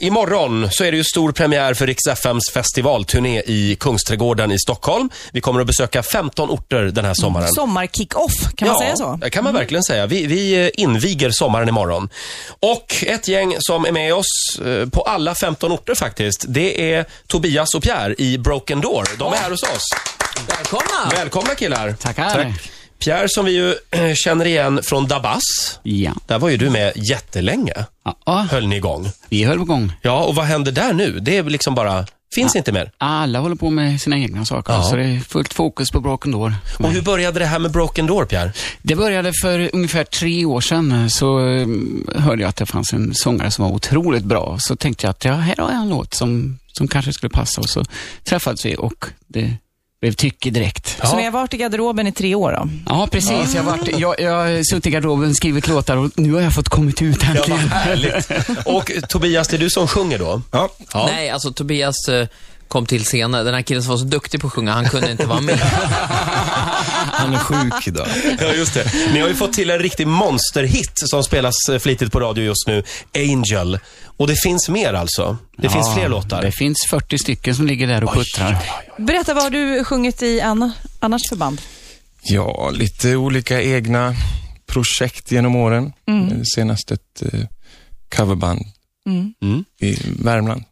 Imorgon så är det ju stor premiär för Rix FMs festivalturné i Kungsträdgården i Stockholm. Vi kommer att besöka 15 orter den här sommaren. Sommarkick-off, kan man säga så? det kan man verkligen säga. Vi, vi eh, inviger sommaren imorgon. Och ett gäng som är med oss eh, på alla 15 orter faktiskt, det är Tobias och Pierre i Broken Door. De är här hos oss. Välkomna! Välkomna killar. Tackar. Pierre som vi ju eh, känner igen från Dabas. Ja. Där var ju du med jättelänge. Ja, ja, Höll ni igång? vi höll igång. Ja, och vad händer där nu? Det är liksom bara, finns inte mer. Alla håller på med sina egna saker, Ja. så det är fullt fokus på Broken Door. Och hur började det här med Broken Door, Pierre? Det började för ungefär tre år sedan, så mm, hörde jag att det fanns en sångare som var otroligt bra. Så tänkte jag att ja, här har jag en låt som, som kanske skulle passa. Och så träffades vi och det blev tycke direkt. Så ni har varit i garderoben i tre år då? Ja, precis. Jag har varit- jag- jag har suttit i garderoben, skrivit låtar och nu har jag fått kommit ut Ja, vad äntligen. härligt. Och Tobias, det är du som sjunger då? Ja. Ja. Nej, alltså Tobias eh, kom till senare. Den här killen som var så duktig på att sjunga, han kunde inte vara med. Han är sjuk idag. Ja, just det. Ni har ju fått till en riktig monsterhit som spelas eh, flitigt på radio just nu, Angel. Och det finns mer alltså? Det finns fler låtar? Det finns 40 stycken som ligger där och puttrar. Berätta, vad har du sjungit i an- annars för band? Ja, lite olika egna projekt genom åren. Mm. Eh, Senast ett eh, coverband Mm. i Värmland.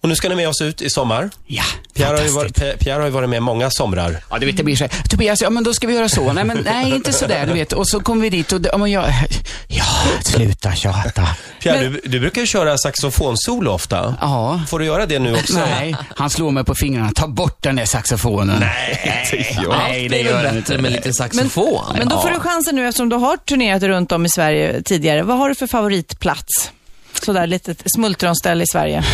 Och nu ska ni med oss ut i sommar. Ja, Pierre har, ju fantastiskt. varit, Pe- Pierre har ju varit med många somrar. Ja, du vet, det blir så här, Tobias, ja men då ska vi göra så. Nej, men nej, inte så där, du vet. Och så kommer vi dit och, det- ja, men jag, ja, sluta tjata. Pierre, du, du brukar ju köra saxofonsolo ofta. Ja. Får du göra det nu också? Nej, han slår mig på fingrarna. Ta bort den där saxofonen. Nej, nej det är gör väl den bättre inte. med lite saxofon. Men då får du chansen nu eftersom du har turnerat runt om i Sverige tidigare. Vad har du för favoritplats? Sådär litet smultronställe i Sverige.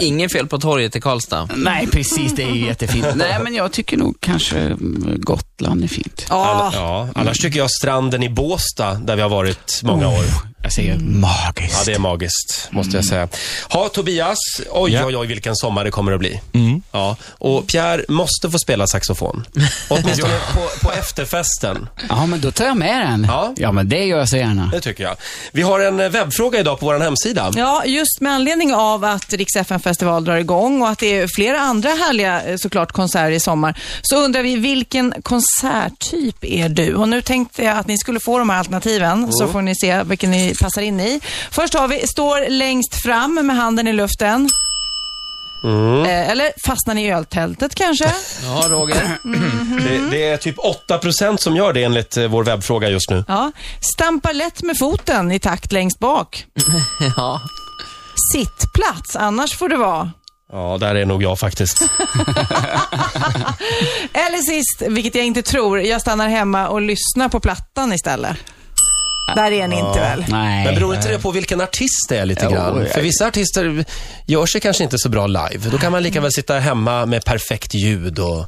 Ingen fel på torget i Karlstad. Nej, precis. Det är ju jättefint. Nej, men jag tycker nog kanske mm, Gotland är fint. Ja, Ja, annars tycker jag stranden i Båsta där vi har varit många år. Jag säger magiskt. Ja, det är magiskt, måste jag säga. Ha, Tobias, oj, Ja. oj, oj, vilken sommar det kommer att bli. Ja, och Pierre måste få spela saxofon. Åtminstone på, på efterfesten, Ja, men då tar jag med den. Ja. ja, men det gör jag så gärna. det tycker jag. Vi har en eh, webbfråga idag på vår hemsida. ja just med anledning av att Rix festival drar igång och att det är flera andra härliga eh, såklart konserter i sommar. Så undrar vi, vilken konserttyp är du? Och nu tänkte jag att ni skulle få de här alternativen så får ni se vilken ni passar in i. Först har vi, står längst fram med handen i luften. Eh, Eller fastnar ni i öltältet kanske? Ja, Roger. Det, det är typ 8% som gör det enligt eh, vår webbfråga just nu. Ja. Stampa lätt med foten i takt längst bak. Ja. Sittplats, annars får det vara. Ja, där är nog jag faktiskt. Eller sist, vilket jag inte tror, jag stannar hemma och lyssnar på plattan istället. Där är ni inte väl? Nej. Men beror inte det på vilken artist det är lite Jo, grann? jag- För vissa artister gör sig kanske inte så bra live. Då kan man lika väl sitta hemma med perfekt ljud och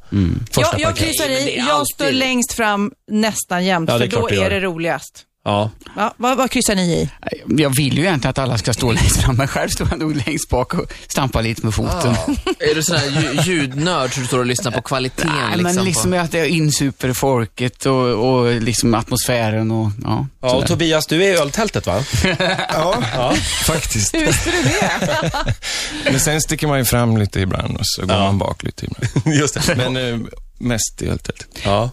första Jag, jag parkett. kryssar men i, det är jag alltid- står längst fram nästan jämt, Ja, det är för klart då du gör. är det roligast. Ja. Ja, vad, vad kryssar ni i? Jag vill ju egentligen att alla ska stå längst fram, men själv står jag nog längst bak och stampar lite med foten. Är du sån här lju- ljudnörd så du står och lyssnar på kvaliteten? Nej, liksom, men på... liksom att jag insuper folket och, och liksom atmosfären och ja. Ja, och Tobias, du är i öltältet va? Ja, faktiskt. Hur visste du det? Men sen sticker man ju fram lite ibland och så går man bak lite ibland. Just det. Men eh, mest i öltältet. Ja.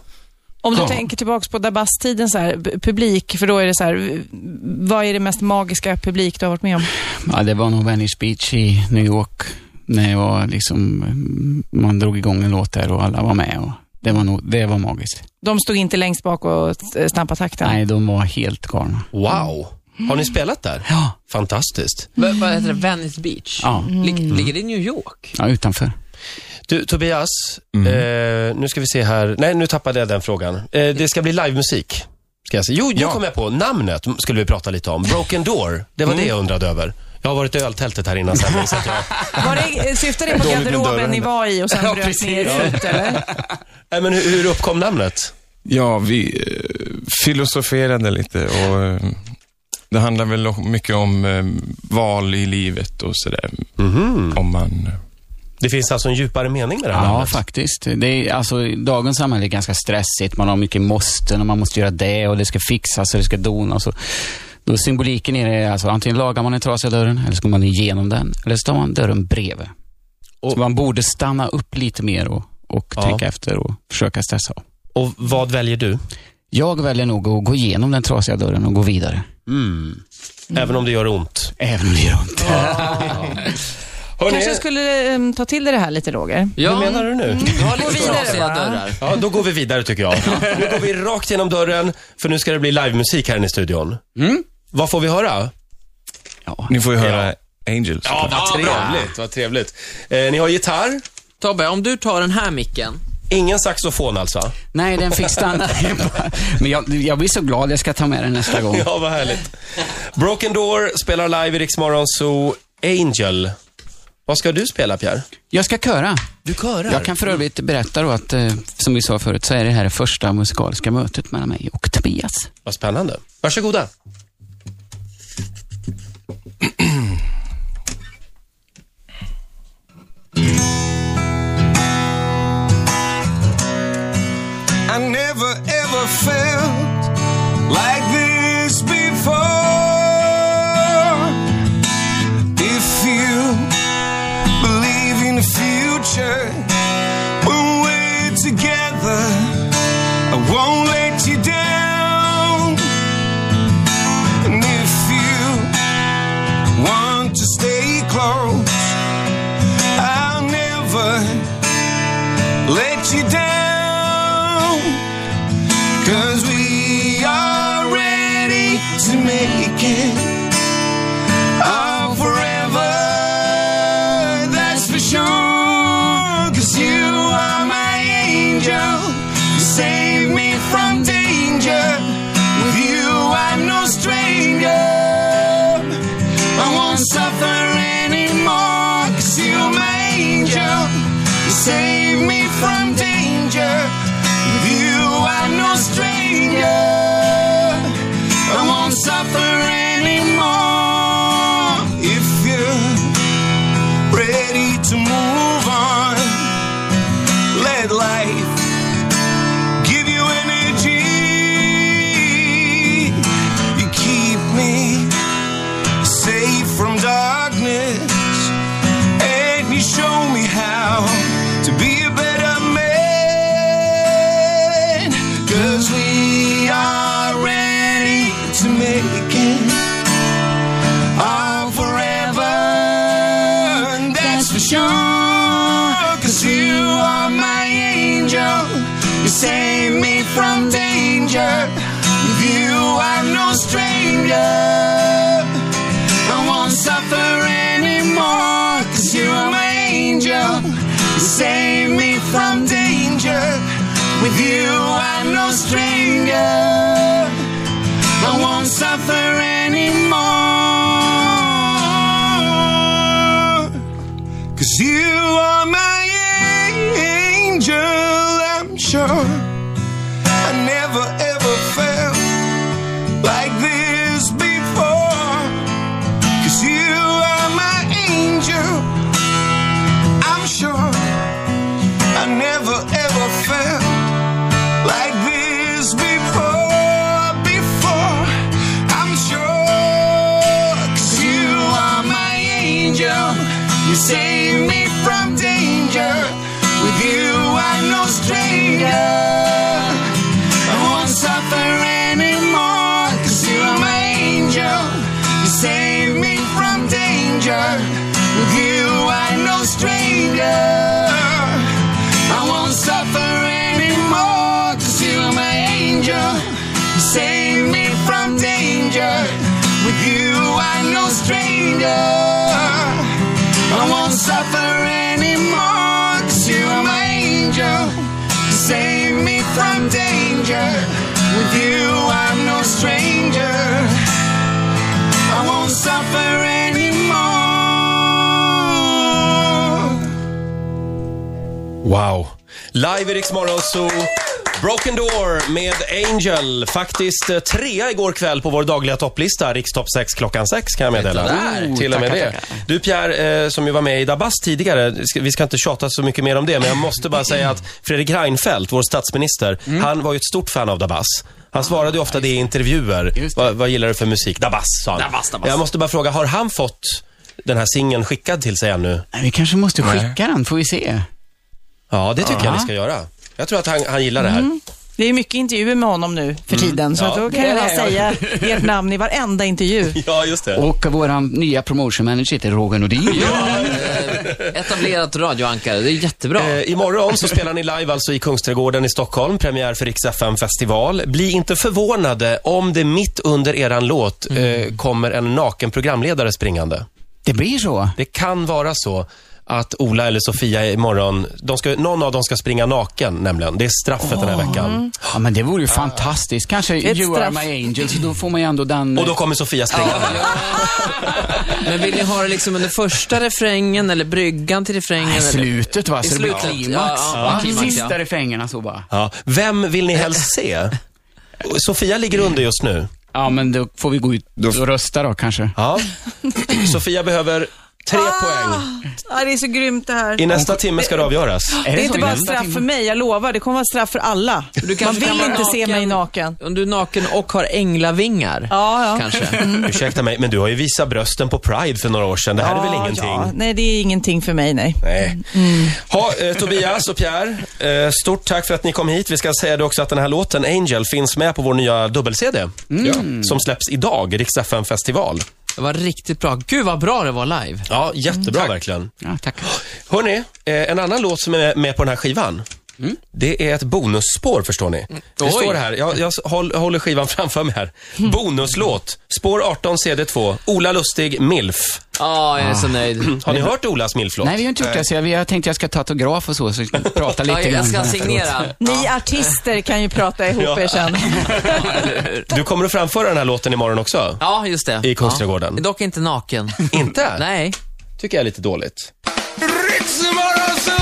Om du tänker tillbaks på Dabas-tiden, så här, b- publik, för då är det så här, v- vad är det mest magiska publik du har varit med om? ja, det var nog Venice Beach i New York när jag var liksom, mm, man drog igång en låt där och alla var med och det var, nog, det var magiskt. De stod inte längst bak och eh, stampade takten. Nej, de var helt galna. Wow. Har ni spelat där? Ja, Fantastiskt. V- vad heter det? Venice Beach? ja, Lig- Ligger det i New York? ja utanför. Du, Tobias, eh, nu ska vi se här. Nej, nu tappade jag den frågan. Eh, det ska bli livemusik. Ska jag säga. Jo, nu kom jag på. Namnet skulle vi prata lite om. Broken Door. Det var det jag undrade över. Jag har varit i öltältet här innan sändning, så att jag... Var det, eh, syftar det på Dåligt med garderoben ni dörren. var i och sen Ja, bröt ni precis. er ut, eller? Nej, men hur, hur uppkom namnet? Ja, vi eh, filosoferade lite och eh, det handlar väl om- mycket om eh, val i livet och sådär. Om man... Det finns alltså en djupare mening med det här Ja, namnet. faktiskt. Det är, alltså, dagens samhälle är ganska stressigt. Man har mycket måsten och man måste göra det och det ska fixas och det ska donas. Och Då symboliken är det alltså antingen lagar man en trasa i dörren eller så går man igenom den. Eller så tar man dörren bredvid. Och- Så man borde stanna upp lite mer och, och Ja. tänka efter och försöka stressa av. Och vad väljer du? Jag väljer nog att gå igenom den trasiga dörren och gå vidare. Även om det gör ont. Även om det gör ont. Kanske jag skulle eh, ta till dig det här lite, Roger. Ja, Hur menar du nu? Du har Gå lite vidare, trasiga va? dörrar. Ja, då går vi vidare tycker jag. Nu går vi rakt genom dörren, för nu ska det bli livemusik här inne i studion. Mm. Vad får vi höra? Ja. Ni får ju höra Angels. vad trevligt. Vad trevligt. Eh, ni har gitarr, Tobbe, om du tar den här micken. ingen saxofon alltså? Nej, den fick stanna. Men jag, jag blir så glad, jag ska ta med den nästa gång. Ja, vad härligt. Broken Door spelar live i Rix Morgon Zoo, Angel. Vad ska du spela, Pierre? Jag ska köra. Du körar. Jag kan för övrigt berätta då att, eh, som vi sa förut, så är det här det första musikaliska mötet mellan mig och Tobias. Vad spännande. Varsågoda. I never ever felt like this before. If you believe in the future, when we're together, I won't let you down. And if you want to stay close, I'll never let you down. Cause we are ready to make it our forever. That's for sure. Cause you are my angel. You save me from danger. With you, I'm no stranger. I won't suffer anymore. Cause you're my angel. You save me from danger. With you, I'm no stranger. I won't suffer anymore. If you're ready to move on, let life give you energy. You keep me safe from darkness and you show me how to be a better man cause we are ready to make it our forever that's for sure cause you are my angel you save me from danger with you I'm no stranger I won't suffer anymore. Cause you're my angel. You save me from danger. With you, I'm no stranger. I won't suffer anymore. Cause you are my angel, I'm sure. I never ever felt like this before. Cause you are my angel. I'm sure I never ever felt like this before. Before I'm sure. Cause you are my angel. You save me from danger. With you, I'm no stranger. I won't suffer anymore. Cause you're my angel. You save me from danger. With you, I'm no stranger. I won't suffer anymore. Cause you're my angel. You save me from danger. With you, I'm no stranger. I won't suffer anymore. Cause you're my angel. Save me from danger. With you, I'm no stranger. I won't suffer anymore. Wow. Live i Rix Morgon Zoo. Broken Door med Angel. Faktiskt eh, trea igår kväll på vår dagliga topplista, Rikstopp 6 klockan 6 kan jag meddela. Mm, Titta där. Till och med Tackar, det. Du Pierre, eh, som ju var med i Dabas tidigare, ska- vi ska inte tjata så mycket Mm. mer om det, men jag måste bara säga att Fredrik Reinfeldt, vår statsminister, han var ju ett stort fan av Dabas. Han svarade ju ofta det i intervjuer. Just det. Vad, vad gillar du för musik? Dabas, sa han. Dabas, dabas. Jag måste bara fråga, har han fått den här singeln skickad till sig ännu? Nej, vi kanske måste Nej. skicka den, får vi se. Ja, det tycker jag Ja. ni ska göra. Jag tror att han, han gillar det här. Det är mycket intervjuer med honom nu för tiden, så Ja. att då kan jag säga ert namn i varenda intervju. Ja, just det. Och vår nya promotion manager heter Roger Nordin. Etablerat radioankare, det är jättebra. Eh, imorgon så spelar ni live alltså i Kungsträdgården i Stockholm, premiär för Rix FM festival. Bli inte förvånade om det mitt under eran låt eh, kommer en naken programledare springande. Det blir så. Det kan vara så att Ola eller Sofia imorgon, de ska, någon av dem ska springa naken nämligen. Det är straffet den här veckan. Ja, men det vore ju fantastiskt. Kanske Ett You straff. Are My Angels, då får man ju ändå den... Och då kommer Sofia springande. Men vill ni ha det liksom under första refrängen eller bryggan till refrängen? Nej, eller? eh, slutet va, I så det blir slutet, klimax. ja, ja, va? klimax, ja. Sista refrängerna så bara. Ja. Vem vill ni helst se? Sofia ligger under just nu. Ja, men då får vi gå ut och rösta då kanske. Ja. Sofia behöver tre poäng. Ah, det är så grymt det här. I nästa timme ska det avgöras. Det är så inte i bara nästa straff timme? för mig, jag lovar. Det kommer vara straff för alla. Du kanske Man kan vill vara inte se naken. mig naken. Om du är naken och har änglavingar, Ja, Mm. ja. kanske. Ursäkta mig, men du har ju visat brösten på Pride för några år sedan. Det här är väl Ja, ingenting? ja. Mm. Nej, det är ingenting för mig, nej. Nej. Ha, eh, Tobias och Pierre, eh, stort tack för att ni kom hit. Vi ska säga det också att den här låten, Angel, finns med på vår nya dubbel-CD. Mm. Ja, Som släpps idag, Rix FM festival. Det var riktigt bra. Gud vad bra det var live. Ja, jättebra verkligen. Ja, tack. Hörni, eh, en annan låt som är med på den här skivan. Det är ett bonusspår, förstår ni. Det Mm. Oj. Mm. står här, jag, jag s- håll, håller skivan framför mig här. Bonuslåt, spår 18, CD2, Ola Lustig, MILF. Ja, jag är så nöjd. Har ni hört Olas MILF-låt? Nej, vi har inte gjort det. Så jag, jag tänkte jag ska ta autograf och så, så vi kan prata lite Ja, jag ska grann efteråt. signera. Ni artister kan ju prata ihop Ja. er sen. Du kommer att framföra den här låten imorgon också? Ja, just det. I Kungsträdgården. Ja. Dock inte naken. Inte? Nej. Tycker jag är lite dåligt. Ritzmorgonzoo!